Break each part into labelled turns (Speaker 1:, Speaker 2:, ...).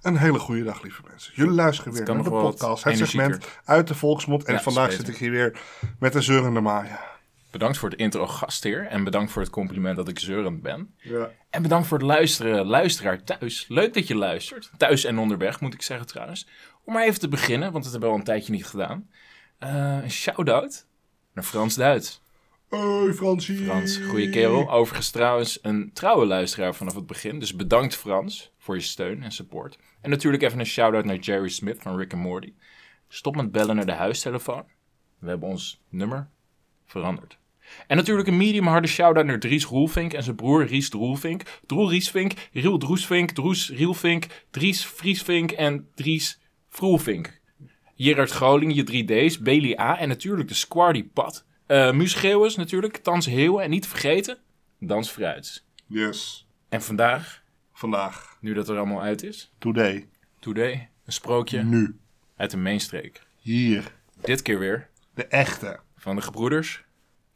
Speaker 1: Een hele goede dag, lieve mensen. Jullie luisteren weer
Speaker 2: kan
Speaker 1: naar de
Speaker 2: nog wel wat
Speaker 1: podcast, het
Speaker 2: energieker.
Speaker 1: segment uit de volksmond. En
Speaker 2: Ja,
Speaker 1: vandaag
Speaker 2: is
Speaker 1: zit
Speaker 2: beter.
Speaker 1: ik hier weer met een zeurende Maya.
Speaker 2: Bedankt voor het intro, gastheer. En bedankt voor het compliment dat ik zeurend ben.
Speaker 1: Ja.
Speaker 2: En bedankt voor het luisteren, luisteraar thuis. Leuk dat je luistert. Thuis en onderweg, moet ik zeggen trouwens. Om maar even te beginnen, want het hebben we al een tijdje niet gedaan. Eh, een shout-out naar Frans Duits.
Speaker 1: Hoi Fransie.
Speaker 2: Frans, goede kerel. Overigens trouwens een trouwe luisteraar vanaf het begin. Dus bedankt Frans voor je steun en support. En natuurlijk even een shout-out naar Jerry Smith van Rick and Morty. Stop met bellen naar de huistelefoon. We hebben ons nummer veranderd. En natuurlijk een medium harde shout-out naar Dries Roelvink en zijn broer Ries Droelvink. Droel Riesvink, Riel Droesvink, Droes Rielvink, Dries Vriesvink en Dries Vroelvink. Gerard Groling, je 3D's, Bailey A en natuurlijk de Squardy Pad. Eh Muus Geeuwens natuurlijk, Tans Heeuwen en niet te vergeten, Dans Fruits.
Speaker 1: Yes.
Speaker 2: En vandaag,
Speaker 1: Vandaag.
Speaker 2: nu dat er allemaal uit is,
Speaker 1: Today.
Speaker 2: today, een sprookje
Speaker 1: Nu.
Speaker 2: uit de Mainstreek.
Speaker 1: Hier.
Speaker 2: Dit keer weer
Speaker 1: De echte.
Speaker 2: van de gebroeders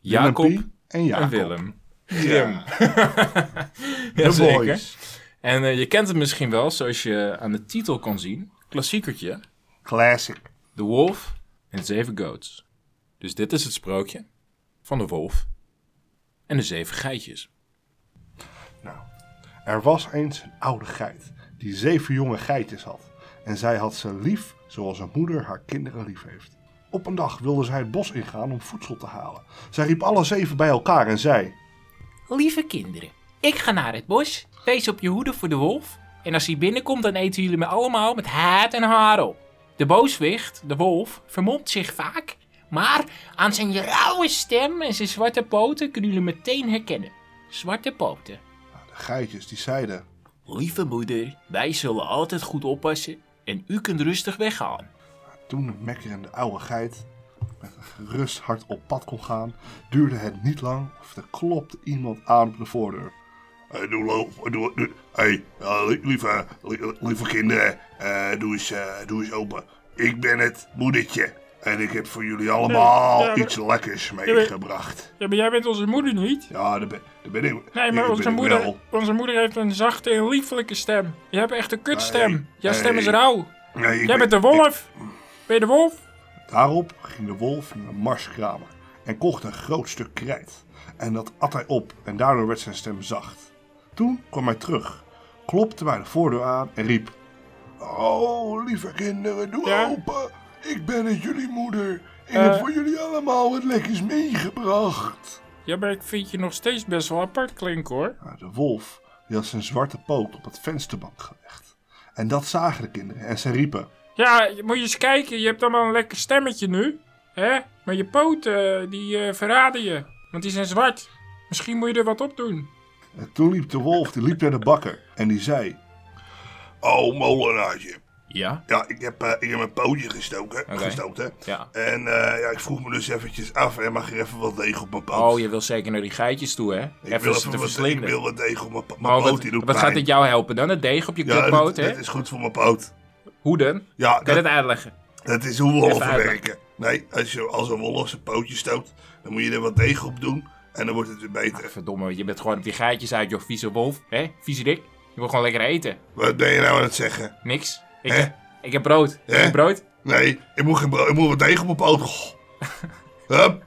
Speaker 1: Willem
Speaker 2: Jacob
Speaker 1: Pie en Jacob.
Speaker 2: en Willem.
Speaker 1: Ja.
Speaker 2: Ja,
Speaker 1: De
Speaker 2: zeker.
Speaker 1: boys.
Speaker 2: En eh, je kent het misschien wel, zoals je aan de titel kon zien. Klassiekertje.
Speaker 1: Classic.
Speaker 2: De wolf en de zeven goats. Dus dit is het sprookje van de wolf en de zeven geitjes.
Speaker 1: Nou, er was eens een oude geit die zeven jonge geitjes had. En zij had ze lief zoals een moeder haar kinderen lief heeft. Op een dag wilde zij het bos ingaan om voedsel te halen. Zij riep alle zeven bij elkaar en zei:
Speaker 3: Lieve kinderen, ik ga naar het bos. Wees op je hoede voor de wolf. En als hij binnenkomt, dan eten jullie me allemaal met haat en haar op. De booswicht, de wolf, vermomt zich vaak. Maar aan zijn rauwe stem en zijn zwarte poten kunnen jullie meteen herkennen. Zwarte poten.
Speaker 1: "Nou, De geitjes die zeiden:
Speaker 3: Lieve moeder, wij zullen altijd goed oppassen. En u kunt rustig weggaan.
Speaker 1: Toen de mekkerende oude geit met een gerust hart op pad kon gaan, duurde het niet lang of er klopte iemand aan op de voordeur.
Speaker 4: Eh, doe loop, doe, doe, hey, eh, li- lieve, li- lieve kinderen, eh, doe, eens, eh, doe eens open. Ik ben het moedertje en ik heb voor jullie allemaal
Speaker 5: Nee, ja, maar-
Speaker 4: iets lekkers meegebracht.
Speaker 5: Ja, maar jij bent onze moeder niet.
Speaker 4: Ja, daar ben, daar ben ik.
Speaker 5: Nee,
Speaker 4: dat
Speaker 5: maar onze
Speaker 4: ben ik
Speaker 5: moeder,
Speaker 4: wel.
Speaker 5: onze moeder heeft een zachte en liefelijke stem. Je hebt echt een kutstem.
Speaker 4: Nee,
Speaker 5: Jouw stem is
Speaker 4: nee.
Speaker 5: rauw.
Speaker 4: Nee, ik
Speaker 5: Jij
Speaker 4: ben-
Speaker 5: bent de wolf. Ben je de wolf?
Speaker 1: Daarop ging de wolf naar de marskramer en kocht een groot stuk krijt. En dat at hij op en daardoor werd zijn stem zacht. Toen kwam hij terug, klopte bij de voordeur aan en riep...
Speaker 4: Oh, lieve kinderen, doe
Speaker 5: Ja?
Speaker 4: open. Ik ben het, jullie moeder. Ik
Speaker 5: Eh.
Speaker 4: heb voor jullie allemaal wat lekkers meegebracht.
Speaker 5: Ja, maar ik vind je nog steeds best wel apart klinken hoor.
Speaker 1: Maar De wolf die had zijn zwarte poot op het vensterbank gelegd. En dat zagen de kinderen en ze riepen...
Speaker 5: Ja, je- moet je eens kijken. Je hebt allemaal een lekker stemmetje nu. hè? Maar je poten, die eh, verraden je. Want die zijn zwart. Misschien moet je er wat op doen.
Speaker 1: En toen liep de wolf die liep naar de bakker en die zei...
Speaker 4: Oh, molenaartje.
Speaker 2: Ja?
Speaker 4: Ja, ik heb, eh, ik heb mijn pootje gestoken,
Speaker 2: Oké.
Speaker 4: gestoten.
Speaker 2: Ja.
Speaker 4: En eh, ja, ik vroeg me dus eventjes af, hè, mag er even wat deeg op mijn poot?
Speaker 2: Oh, je wil zeker naar die geitjes toe, hè?
Speaker 4: ik
Speaker 2: even
Speaker 4: wil
Speaker 2: ze te
Speaker 4: wat, Ik
Speaker 2: verslinden.
Speaker 4: wil wat deeg op mijn, po- mijn
Speaker 2: Maar
Speaker 4: poot,
Speaker 2: wat,
Speaker 4: die doet
Speaker 2: wat gaat
Speaker 4: pijn.
Speaker 2: dit jou helpen dan? Het deeg op je
Speaker 4: Ja,
Speaker 2: kutpoot,
Speaker 4: dat,
Speaker 2: hè?
Speaker 4: dat is goed voor mijn poot.
Speaker 2: Hoe dan?
Speaker 4: Ja,
Speaker 2: Kan je
Speaker 4: dat,
Speaker 2: dat uitleggen?
Speaker 4: dat is hoe wolven
Speaker 2: uitleggen.
Speaker 4: werken. Nee, als, je, als een wolf zijn pootje stoot, dan moet je er wat deeg op doen en dan wordt het weer beter.
Speaker 2: Verdomme, je bent gewoon op die geitjes uit, joh, vieze wolf. Hè? Vieze dik. Je wil gewoon lekker eten.
Speaker 4: Wat ben je nou aan het zeggen?
Speaker 2: Niks. Ik,
Speaker 4: Hè?
Speaker 2: ik heb brood. Ik
Speaker 4: Hè?
Speaker 2: heb brood.
Speaker 4: Nee, ik moet, geen, bro- ik moet wat deeg op mijn poot. Goh. Hup.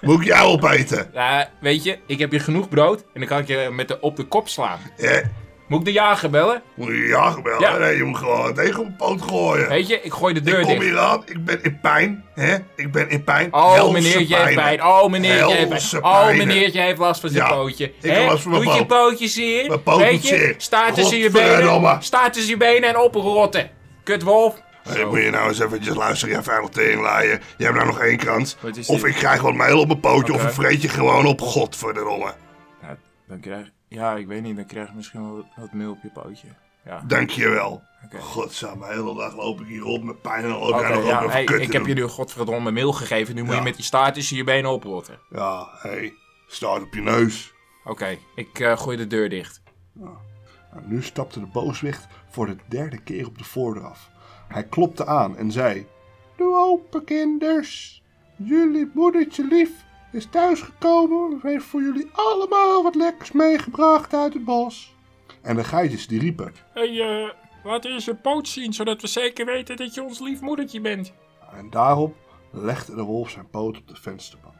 Speaker 4: Moet ik jou opeten?
Speaker 2: Ja, weet je, ik heb hier genoeg brood en dan kan ik je met de, op de kop slaan.
Speaker 4: Ja,
Speaker 2: Moet ik de jager bellen?
Speaker 4: moet je jagen wel?
Speaker 2: Ja.
Speaker 4: Nee, je moet gewoon wat deeg op mijn poot gooien.
Speaker 2: Weet je, ik gooi de deur
Speaker 4: ik kom
Speaker 2: dicht.
Speaker 4: hier aan, ik ben in pijn, hè? Ik ben in pijn.
Speaker 2: Oh,
Speaker 4: Helse
Speaker 2: meneer, je
Speaker 4: pijnen.
Speaker 2: heeft pijn. Oh, meneer, je heeft
Speaker 4: Helse
Speaker 2: pijn. Oh,
Speaker 4: pijnen.
Speaker 2: meneer, je heeft last van zijn
Speaker 4: Ja,
Speaker 2: pootje.
Speaker 4: ik
Speaker 2: Hè?
Speaker 4: heb last van mijn
Speaker 2: Doet je
Speaker 4: poot.
Speaker 2: pootje zeer?
Speaker 4: Mijn poot
Speaker 2: Weet
Speaker 4: doet
Speaker 2: je,
Speaker 4: zeer.
Speaker 2: Staat tussen je
Speaker 4: Godverdomme.
Speaker 2: benen. Staat tussen je benen en oprotten. Kutwolf.
Speaker 4: Hey, moet je nou eens eventjes luisteren, jij vuile teringlaaier. Je hebt nou nog één kans.
Speaker 2: Wat is
Speaker 4: Of
Speaker 2: dit?
Speaker 4: ik krijg wat mail op mijn pootje,
Speaker 2: Oké.
Speaker 4: of ik vreet je gewoon op. Godverdomme.
Speaker 2: Ja, dan krijg Ja, ik weet niet, dan krijg je misschien wel wat meel op je pootje. Ja.
Speaker 4: Dankjewel.
Speaker 2: Oké.
Speaker 4: wel. Godsamme, de hele dag loop ik hier rond met pijn en al
Speaker 2: Oké,
Speaker 4: elkaar nog
Speaker 2: ja,
Speaker 4: ook
Speaker 2: hey,
Speaker 4: kut
Speaker 2: ik
Speaker 4: te
Speaker 2: heb
Speaker 4: doen.
Speaker 2: je nu godverdomme meel gegeven. Nu moet
Speaker 4: Ja.
Speaker 2: je met die staart tussen je benen oprotten.
Speaker 4: Ja, hé, hey, staart op je neus.
Speaker 2: Oké, ik eh, gooi de deur dicht.
Speaker 1: Nou, nu stapte de booswicht voor de derde keer op de voordeur af. Hij klopte aan en zei... Doe open, kinders. Jullie moedertje lief is thuisgekomen en heeft voor jullie allemaal wat lekkers meegebracht uit het bos. En de geitjes die riepen...
Speaker 5: Hé, hey, eh,
Speaker 6: Laat eens je poot zien, zodat we zeker weten dat je ons lief moedertje bent.
Speaker 1: En daarop legde de wolf zijn poot op de vensterbank.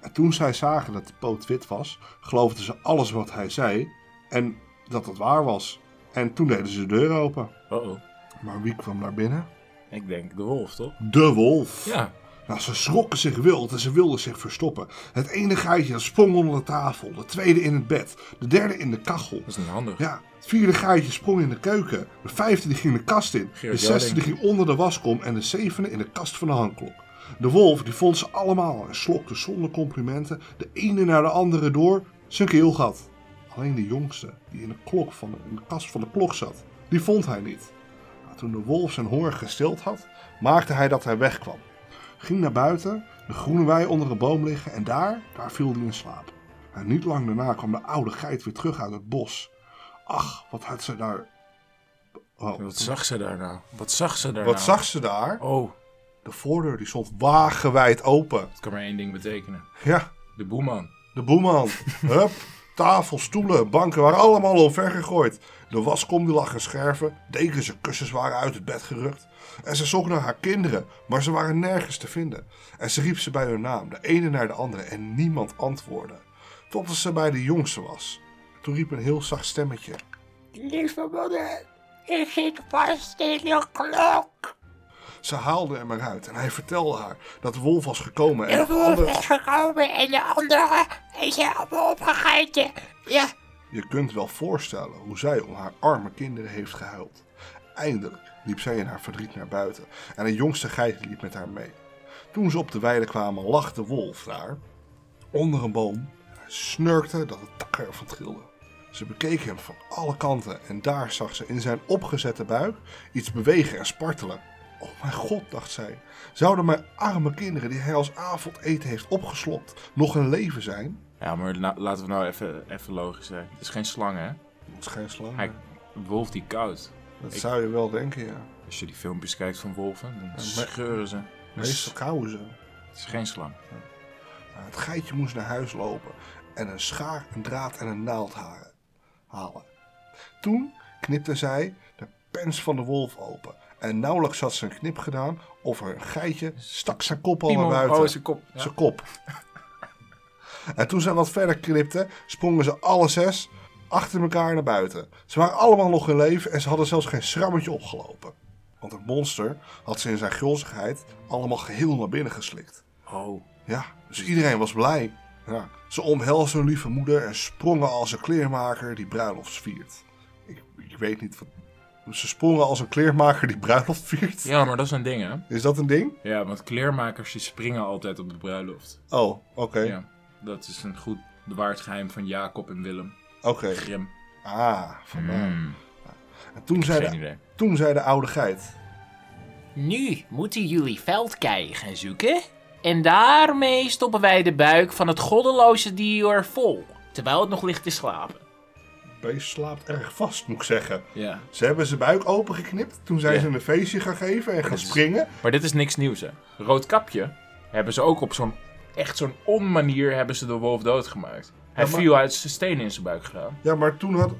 Speaker 1: En toen zij zagen dat de poot wit was, geloofden ze alles wat hij zei en dat het waar was. En toen deden ze de deur open.
Speaker 5: Oh,
Speaker 1: Maar wie kwam naar binnen?
Speaker 5: ik denk de wolf, toch?
Speaker 1: De wolf.
Speaker 5: Ja.
Speaker 1: Nou, ze schrokken zich wild en ze wilden zich verstoppen. Het ene geitje dat sprong onder de tafel, de tweede in het bed, de derde in de kachel.
Speaker 5: Dat is niet handig.
Speaker 1: Ja, het vierde gaatje sprong in de keuken. De vijfde die ging de kast in.
Speaker 5: Gerard
Speaker 1: de zesde die
Speaker 5: Joling.
Speaker 1: ging onder de waskom. En de zevende in de kast van de hangklok. De wolf die vond ze allemaal en slokte zonder complimenten de ene naar de andere door zijn keelgat. Alleen de jongste, die in de, klok van de, in de kast van de klok zat, die vond hij niet. Maar toen de wolf zijn honger gestild had, maakte hij dat hij wegkwam. Ging naar buiten, de groene wei onder een boom liggen en daar, daar viel hij in slaap. En niet lang daarna kwam de oude geit weer terug uit het bos. Ach, wat had ze daar. Oh,
Speaker 5: Wat zag ze daar nou? Wat zag ze daar
Speaker 1: wat
Speaker 5: nou?
Speaker 1: zag ze daar?
Speaker 5: Oh,
Speaker 1: De voordeur die stond wagenwijd open.
Speaker 5: dat kan maar één ding betekenen.
Speaker 1: Ja,
Speaker 5: De boeman.
Speaker 1: de boeman. Hup, tafel, stoelen, banken waren allemaal omver gegooid. De waskom die lag in scherven, dekens en kussens waren uit het bed gerukt. En ze zocht naar haar kinderen, maar ze waren nergens te vinden. En ze riep ze bij hun naam, de ene naar de andere, en niemand antwoordde. Totdat ze bij de jongste was. Toen riep een heel zacht stemmetje.
Speaker 7: Lieve moeder, ik zit vast in de klok.
Speaker 1: Ze haalde hem eruit en hij vertelde haar dat de wolf was gekomen en
Speaker 7: De
Speaker 1: dat de
Speaker 7: wolf
Speaker 1: andere...
Speaker 7: is gekomen en de andere is helemaal opgegeten. Ja,
Speaker 1: Je kunt wel voorstellen hoe zij om haar arme kinderen heeft gehuild. Eindelijk liep zij in haar verdriet naar buiten en een jongste geit liep met haar mee. Toen ze op de weide kwamen, lag de wolf daar onder een boom. Hij snurkte dat de takken ervan trilden. Ze bekeek hem van alle kanten en daar zag ze in zijn opgezette buik iets bewegen en spartelen. Oh mijn god, dacht zij, zouden mijn arme kinderen die hij als avondeten heeft opgeslokt nog in leven zijn?
Speaker 5: Ja, maar na- laten we nou even, even logisch zijn. Het is geen slang, hè?
Speaker 1: Het is geen slang.
Speaker 5: Hij, wolf die koud.
Speaker 1: Dat zou je wel denken, ja.
Speaker 5: Als je die filmpjes kijkt van wolven, dan scheuren ze. Het is,
Speaker 1: Meestal kauwen ze.
Speaker 5: het is geen slang.
Speaker 1: Maar Het geitje moest naar huis lopen en een schaar, een draad en een naald haren- halen. Toen knipte zij de pens van de wolf open. En nauwelijks had ze een knip gedaan of er een geitje stak zijn kop al naar buiten.
Speaker 5: Oh, zijn kop. Ja.
Speaker 1: Zijn kop. en toen zij wat verder knipte, sprongen ze alle zes achter elkaar naar buiten. Ze waren allemaal nog in leven en ze hadden zelfs geen schrammetje opgelopen. Want het monster had ze in zijn gulzigheid allemaal geheel naar binnen geslikt.
Speaker 5: Oh.
Speaker 1: Ja, dus iedereen was blij. Ja. Ze omhelsden hun lieve moeder en sprongen als een kleermaker die bruiloft viert. Ik, ik weet niet wat... Ze sprongen als een kleermaker die bruiloft viert?
Speaker 5: Ja, maar dat is een ding, hè?
Speaker 1: Is dat een ding?
Speaker 5: Ja, want kleermakers die springen altijd op de bruiloft.
Speaker 1: Oh, oké.
Speaker 5: Ja, dat is een goed bewaard geheim van Jacob en Willem.
Speaker 1: Oké.
Speaker 5: Grim.
Speaker 1: Ah, vandaar.
Speaker 5: Mm,
Speaker 1: En toen zei,
Speaker 5: geen
Speaker 1: de,
Speaker 5: idee.
Speaker 1: toen zei de oude geit...
Speaker 2: Nu moeten jullie veldkeien gaan zoeken. En daarmee stoppen wij de buik van het goddeloze dier vol, terwijl het nog ligt te slapen.
Speaker 1: Beest slaapt erg vast, moet ik zeggen.
Speaker 5: Ja.
Speaker 1: Ze hebben zijn buik opengeknipt. Toen zijn
Speaker 5: Ja.
Speaker 1: ze een feestje gaan geven en gaan springen.
Speaker 5: Maar dit is niks nieuws, hè? Roodkapje hebben ze ook op zo'n... Echt zo'n onmanier hebben ze de wolf doodgemaakt. Hij
Speaker 1: Ja, maar-
Speaker 5: viel uit zijn stenen in zijn buik gedaan.
Speaker 1: Ja, maar toen had...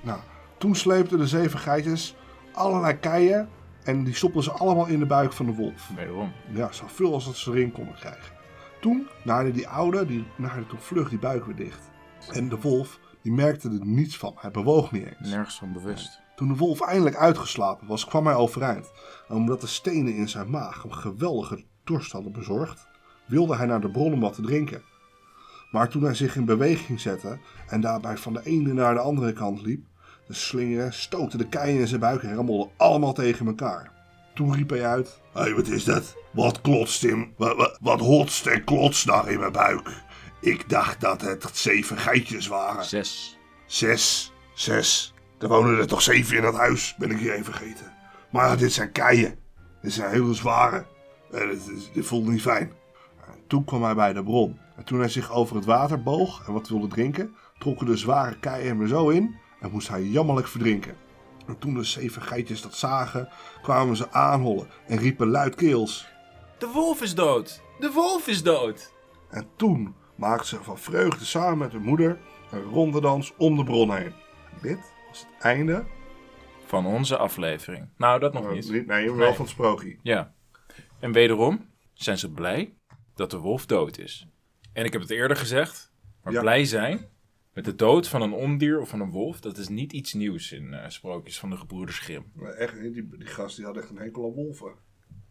Speaker 1: Nou, toen sleepten de zeven geitjes allerlei keien... en die stopten ze allemaal in de buik van de wolf.
Speaker 5: Wederom.
Speaker 1: Ja, zoveel als dat ze erin konden krijgen. Toen naaide die oude, die naaide toen vlug die buik weer dicht. En de wolf, die merkte er niets van. Hij bewoog niet eens.
Speaker 5: Nergens van bewust.
Speaker 1: Toen de wolf eindelijk uitgeslapen was, kwam hij overeind. En omdat de stenen in zijn maag hem geweldige dorst hadden bezorgd, wilde hij naar de bron om wat te drinken. Maar toen hij zich in beweging zette en daarbij van de ene naar de andere kant liep, de slingeren stoten de keien in zijn buik en rammelden allemaal tegen elkaar. Toen riep hij uit,
Speaker 4: Hé, wat is dat? Wat klotst in... Wat, wat, wat hotst en klotst daar in mijn buik? Ik dacht dat het zeven geitjes waren.
Speaker 5: Zes.
Speaker 4: Zes. Zes. Er wonen er toch zeven in dat huis, ben ik hier even vergeten. Maar dit zijn keien. Dit zijn hele zware.
Speaker 1: Eh,
Speaker 4: En dit, is- dit voelt niet fijn.
Speaker 1: Toen kwam hij bij de bron. En toen hij zich over het water boog en wat wilde drinken, trokken de zware keien hem er zo in en moest hij jammerlijk verdrinken. En toen de zeven geitjes dat zagen, kwamen ze aanhollen en riepen luidkeels.
Speaker 5: De wolf is dood! De wolf is dood!
Speaker 1: En toen maakten ze van vreugde samen met hun moeder een rondedans om de bron heen. En dit was het einde
Speaker 5: van onze aflevering. Nou, dat nog
Speaker 1: Eh,
Speaker 5: niet.
Speaker 1: niet, nee, wel van het sprookje.
Speaker 5: Ja. En wederom zijn ze blij dat de wolf dood is. En ik heb het eerder gezegd, maar
Speaker 1: Ja.
Speaker 5: blij zijn met de dood van een ondier of van een wolf, dat is niet iets nieuws in eh, sprookjes van de gebroeders Grimm.
Speaker 1: Maar echt, die, die gast die had echt een hekel aan wolven.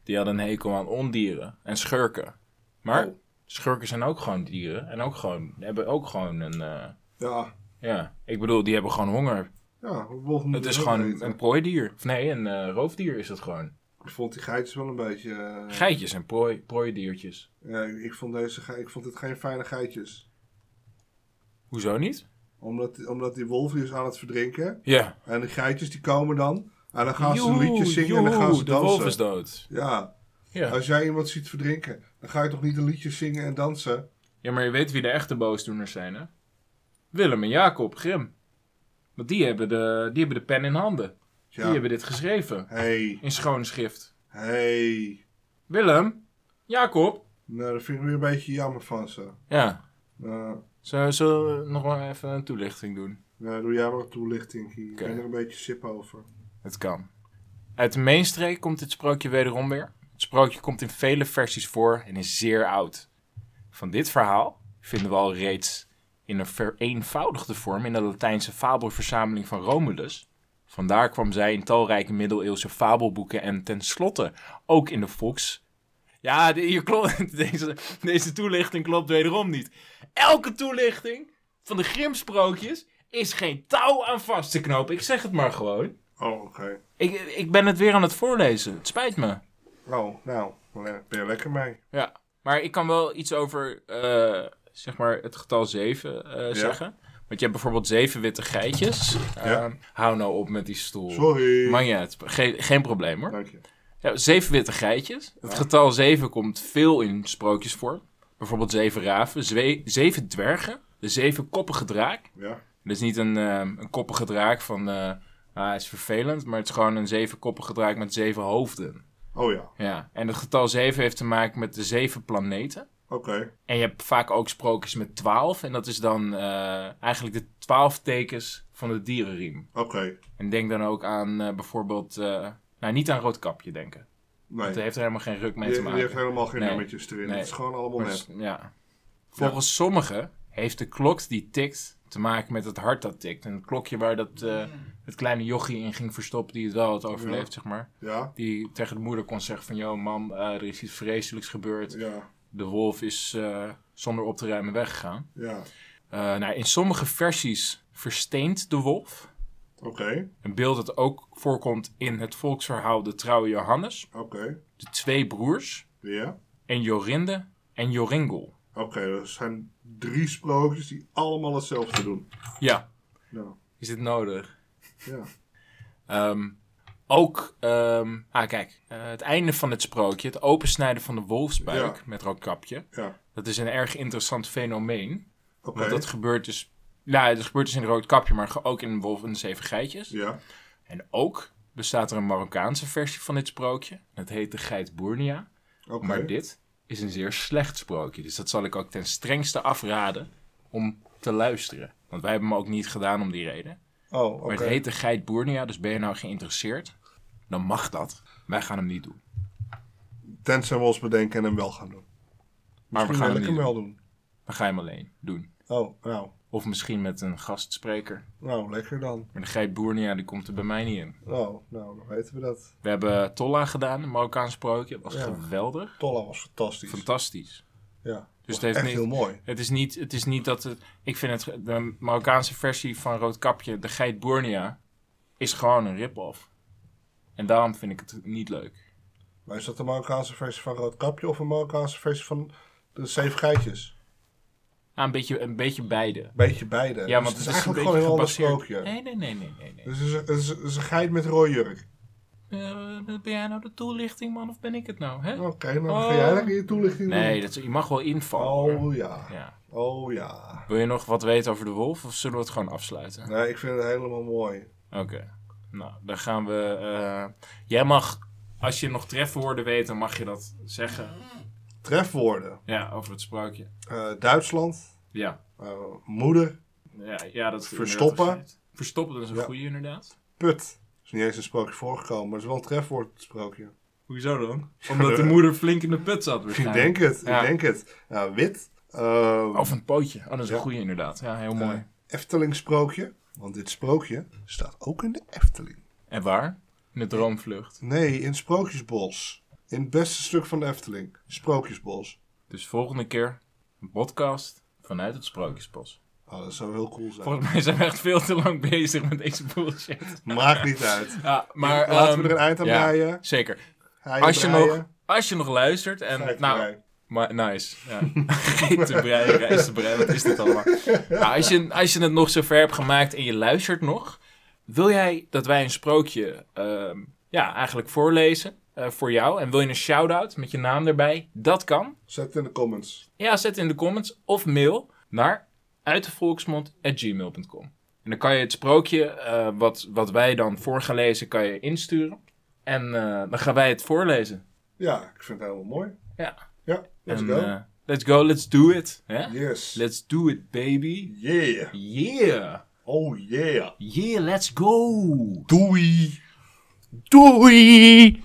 Speaker 5: Die hadden een hekel aan ondieren en schurken. Maar
Speaker 1: Oh.
Speaker 5: schurken zijn ook gewoon dieren en ook gewoon, hebben ook gewoon een... eh,
Speaker 1: Ja,
Speaker 5: ja, ik bedoel, die hebben gewoon honger.
Speaker 1: ja wolven
Speaker 5: Het is gewoon een prooidier. Of nee, een eh, roofdier is dat gewoon.
Speaker 1: Ik vond die geitjes wel een beetje... eh,
Speaker 5: Geitjes en prooi, prooidiertjes.
Speaker 1: ja, ik, ik vond deze, ge- ik vond het geen fijne geitjes.
Speaker 5: Hoezo niet?
Speaker 1: Omdat, omdat die wolf die is aan het verdrinken.
Speaker 5: Ja.
Speaker 1: En die geitjes die komen dan. En dan gaan ze
Speaker 5: Joe,
Speaker 1: liedjes zingen en dan gaan
Speaker 5: joe,
Speaker 1: ze
Speaker 5: De wolf
Speaker 1: dansen.
Speaker 5: is dood.
Speaker 1: Ja,
Speaker 5: Ja.
Speaker 1: als jij iemand ziet verdrinken, dan ga je toch niet een liedje zingen en dansen?
Speaker 5: ja, maar je weet wie de echte boosdoeners zijn, hè? Willem en Jacob Grim. Want die hebben de, die hebben de pen in handen.
Speaker 1: Ja.
Speaker 5: Die hebben dit geschreven.
Speaker 1: Hey,
Speaker 5: In schoon schrift.
Speaker 1: hey.
Speaker 5: Willem? Jacob?
Speaker 1: Nou, dat vind ik weer een beetje jammer van ze.
Speaker 5: Ja.
Speaker 1: Nou,
Speaker 5: Zullen zullen we nog maar even een toelichting doen?
Speaker 1: nou, doe jij maar een toelichting hier.
Speaker 5: Oké.
Speaker 1: Ik ben er een beetje sip over.
Speaker 5: Het kan. Uit de mainstreek komt dit sprookje wederom weer. Het sprookje komt in vele versies voor en is zeer oud. Van dit verhaal vinden we al reeds in een vereenvoudigde vorm in de Latijnse fabelverzameling van Romulus. Vandaar kwam zij in talrijke middeleeuwse fabelboeken en tenslotte ook in de Fox. Ja, de- hier klopt, deze, deze toelichting klopt wederom niet. Elke toelichting van de Grimm-sprookjes is geen touw aan vast te knopen. Ik zeg het maar gewoon.
Speaker 1: Oh, oké.
Speaker 5: Ik, ik ben het weer aan het voorlezen. Het spijt me.
Speaker 1: Oh, nou, dan ben je lekker mee.
Speaker 5: Ja. Maar ik kan wel iets over eh, zeg maar het getal 7 eh, zeggen. Want je hebt bijvoorbeeld zeven witte geitjes. Eh,
Speaker 1: Ja.
Speaker 5: Hou nou op met die stoel.
Speaker 1: Sorry.
Speaker 5: Maar ja, het- geen, geen probleem hoor.
Speaker 1: Dank je.
Speaker 5: Ja, zeven witte geitjes. Het getal zeven komt veel in sprookjes voor. Bijvoorbeeld zeven raven, zwe- zeven dwergen, de zeven koppige draak.
Speaker 1: Ja.
Speaker 5: Dus niet een, eh, een koppige draak van, eh ah, hij is vervelend, maar het is gewoon een zeven koppige draak met zeven hoofden.
Speaker 1: Oh ja,
Speaker 5: Ja, en het getal 7 heeft te maken met de zeven planeten.
Speaker 1: oké.
Speaker 5: En je hebt vaak ook sprookjes met 12. En dat is dan eh, eigenlijk de 12 tekens van de dierenriem.
Speaker 1: Oké.
Speaker 5: En denk dan ook aan eh, bijvoorbeeld. eh, nou, niet aan Roodkapje denken.
Speaker 1: Nee.
Speaker 5: Dat heeft er helemaal geen ruk mee
Speaker 1: Die,
Speaker 5: te
Speaker 1: die
Speaker 5: maken.
Speaker 1: heeft helemaal geen
Speaker 5: Nee.
Speaker 1: nummertjes erin.
Speaker 5: Nee.
Speaker 1: Het is gewoon allemaal
Speaker 5: Maar
Speaker 1: net.
Speaker 5: s- ja. Volgens sommigen heeft de klok die tikt te maken met het hart dat tikt. En het klokje waar dat, eh, het kleine jochie in ging verstoppen, die het wel had overleefd, zeg maar.
Speaker 1: Ja?
Speaker 5: Die tegen de moeder kon zeggen van, joh mam, eh, er is iets vreselijks gebeurd.
Speaker 1: Ja.
Speaker 5: De wolf is eh, zonder op te ruimen weggegaan.
Speaker 1: Ja.
Speaker 5: Eh, nou, in sommige versies versteent de wolf.
Speaker 1: Oké.
Speaker 5: Een beeld dat ook voorkomt in het volksverhaal De Trouwe Johannes.
Speaker 1: Oké.
Speaker 5: De twee broers.
Speaker 1: Ja.
Speaker 5: En Jorinde en Joringel.
Speaker 1: Oké, er zijn drie sprookjes die allemaal hetzelfde doen.
Speaker 5: Ja,
Speaker 1: Nou,
Speaker 5: is dit nodig?
Speaker 1: ja.
Speaker 5: Ehm, ook, ehm, ah kijk, eh, het einde van het sprookje. Het opensnijden van de wolfsbuik
Speaker 1: Ja.
Speaker 5: met roodkapje.
Speaker 1: Ja.
Speaker 5: Dat is een erg interessant fenomeen.
Speaker 1: Oké.
Speaker 5: Want dat gebeurt dus... Ja, dat gebeurt dus in Roodkapje, maar ge- ook in Wolf en de Zeven Geitjes.
Speaker 1: Ja.
Speaker 5: En ook bestaat er een Marokkaanse versie van dit sprookje. Het heet de geit Bournia.
Speaker 1: Oké.
Speaker 5: Maar dit is een zeer slecht sprookje. Dus dat zal ik ook ten strengste afraden om te luisteren. Want wij hebben hem ook niet gedaan om die reden.
Speaker 1: Oh, oké.
Speaker 5: Maar het heet de geit Bournia, dus ben je nou geïnteresseerd? Dan mag dat. Wij gaan hem niet doen.
Speaker 1: Tenzij we ons bedenken en hem wel gaan doen.
Speaker 5: Maar we gaan hem
Speaker 1: lekker
Speaker 5: niet
Speaker 1: hem
Speaker 5: doen.
Speaker 1: wel doen.
Speaker 5: We gaan hem alleen doen.
Speaker 1: Oh, nou.
Speaker 5: Of misschien met een gastspreker.
Speaker 1: Nou, lekker dan.
Speaker 5: Maar de geit Bournia, die komt er bij mij niet in.
Speaker 1: Nou, nou, dan weten we dat.
Speaker 5: We hebben Tolla gedaan, een Marokkaans sprookje. Dat was geweldig.
Speaker 1: Tolla was fantastisch.
Speaker 5: Fantastisch.
Speaker 1: ja. Dus
Speaker 5: Dus het heeft
Speaker 1: echt
Speaker 5: niet-
Speaker 1: heel mooi.
Speaker 5: Het is niet, het is niet dat het. Ik vind het. ge- De Marokkaanse versie van Roodkapje, de geit Bornea, is gewoon een rip-off. En daarom vind ik het niet leuk.
Speaker 1: Maar is dat de Marokkaanse versie van Roodkapje of een Marokkaanse versie van de Zeven Geitjes?
Speaker 5: Ah, een, beetje, een beetje beide.
Speaker 1: Beetje beide.
Speaker 5: Ja,
Speaker 1: Dus
Speaker 5: want
Speaker 1: het is
Speaker 5: een
Speaker 1: eigenlijk gewoon
Speaker 5: beetje
Speaker 1: een heel ander
Speaker 5: gebaseerd-
Speaker 1: sprookje.
Speaker 5: Nee, nee, nee, nee, nee. nee.
Speaker 1: Dus het is, het is- het is een geit met een rode jurk.
Speaker 5: Eh, ben jij nou de toelichting, man, of ben ik het nou? Hè?
Speaker 1: Oké, nou dan ga jij lekker je toelichting doen.
Speaker 5: Nee, dat, is- je mag wel invallen. hoor.
Speaker 1: Oh ja.
Speaker 5: Ja.
Speaker 1: Oh ja.
Speaker 5: Wil je nog wat weten over de wolf, of zullen we het gewoon afsluiten?
Speaker 1: Nee, ik vind het helemaal mooi.
Speaker 5: Oké. Nou, dan gaan we. eh, jij mag, als je nog trefwoorden weet, dan mag je dat zeggen.
Speaker 1: Trefwoorden.
Speaker 5: Ja, over het sprookje.
Speaker 1: Eh, Duitsland.
Speaker 5: Ja.
Speaker 1: Eh, moeder.
Speaker 5: Ja, ja dat is
Speaker 1: Verstoppen.
Speaker 5: inderdaad een feit. Verstoppen, dat is een
Speaker 1: Ja.
Speaker 5: goede inderdaad.
Speaker 1: Put. is niet eens een sprookje voorgekomen, maar het is wel een trefwoord, het sprookje.
Speaker 5: Hoezo dan? Omdat de moeder flink in de put zat
Speaker 1: Ik
Speaker 5: waarschijnlijk.
Speaker 1: denk het,
Speaker 5: Ja.
Speaker 1: ik denk het. Nou, wit. eh,
Speaker 5: Of een pootje. Oh, dat is een
Speaker 1: Ja.
Speaker 5: goeie inderdaad. Ja, heel mooi.
Speaker 1: Efteling sprookje. Want dit sprookje staat ook in de Efteling.
Speaker 5: En waar? In de droomvlucht.
Speaker 1: Nee, in Sprookjesbos. In het beste stuk van de Efteling. Sprookjesbos.
Speaker 5: Dus volgende keer een podcast vanuit het Sprookjesbos.
Speaker 1: Oh, dat zou heel cool zijn.
Speaker 5: Volgens mij zijn we echt veel te lang bezig met deze bullshit.
Speaker 1: Maakt niet uit.
Speaker 5: Ja, maar,
Speaker 1: Laten we
Speaker 5: ehm,
Speaker 1: er een eind aan
Speaker 5: ja,
Speaker 1: breien.
Speaker 5: Zeker.
Speaker 1: Hij
Speaker 5: Als je,
Speaker 1: breien.
Speaker 5: nog, als je nog luistert en...
Speaker 1: Hij
Speaker 5: nou,
Speaker 1: breien.
Speaker 5: Maar nice. Ja. Geen te breien, rijst te breien, wat is dit allemaal? Nou, als, je, als je het nog zover hebt gemaakt en je luistert nog, wil jij dat wij een sprookje ehm, ja, eigenlijk voorlezen eh, voor jou? En wil je een shout-out met je naam erbij? Dat kan.
Speaker 1: Zet het in de comments.
Speaker 5: Ja, zet in de comments of mail naar uitdevolksmond.gmail.com. En dan kan je het sprookje, eh, wat, wat wij dan voorgelezen, kan je insturen. En eh, dan gaan wij het voorlezen.
Speaker 1: Ja, ik vind het helemaal mooi.
Speaker 5: Ja.
Speaker 1: Ja, let's
Speaker 5: En,
Speaker 1: go.
Speaker 5: eh, let's go, let's do it. hè?
Speaker 1: yes.
Speaker 5: Let's do it, baby.
Speaker 1: Yeah.
Speaker 5: Yeah.
Speaker 1: Oh yeah.
Speaker 5: Yeah, let's go.
Speaker 1: Doei.
Speaker 2: Doei!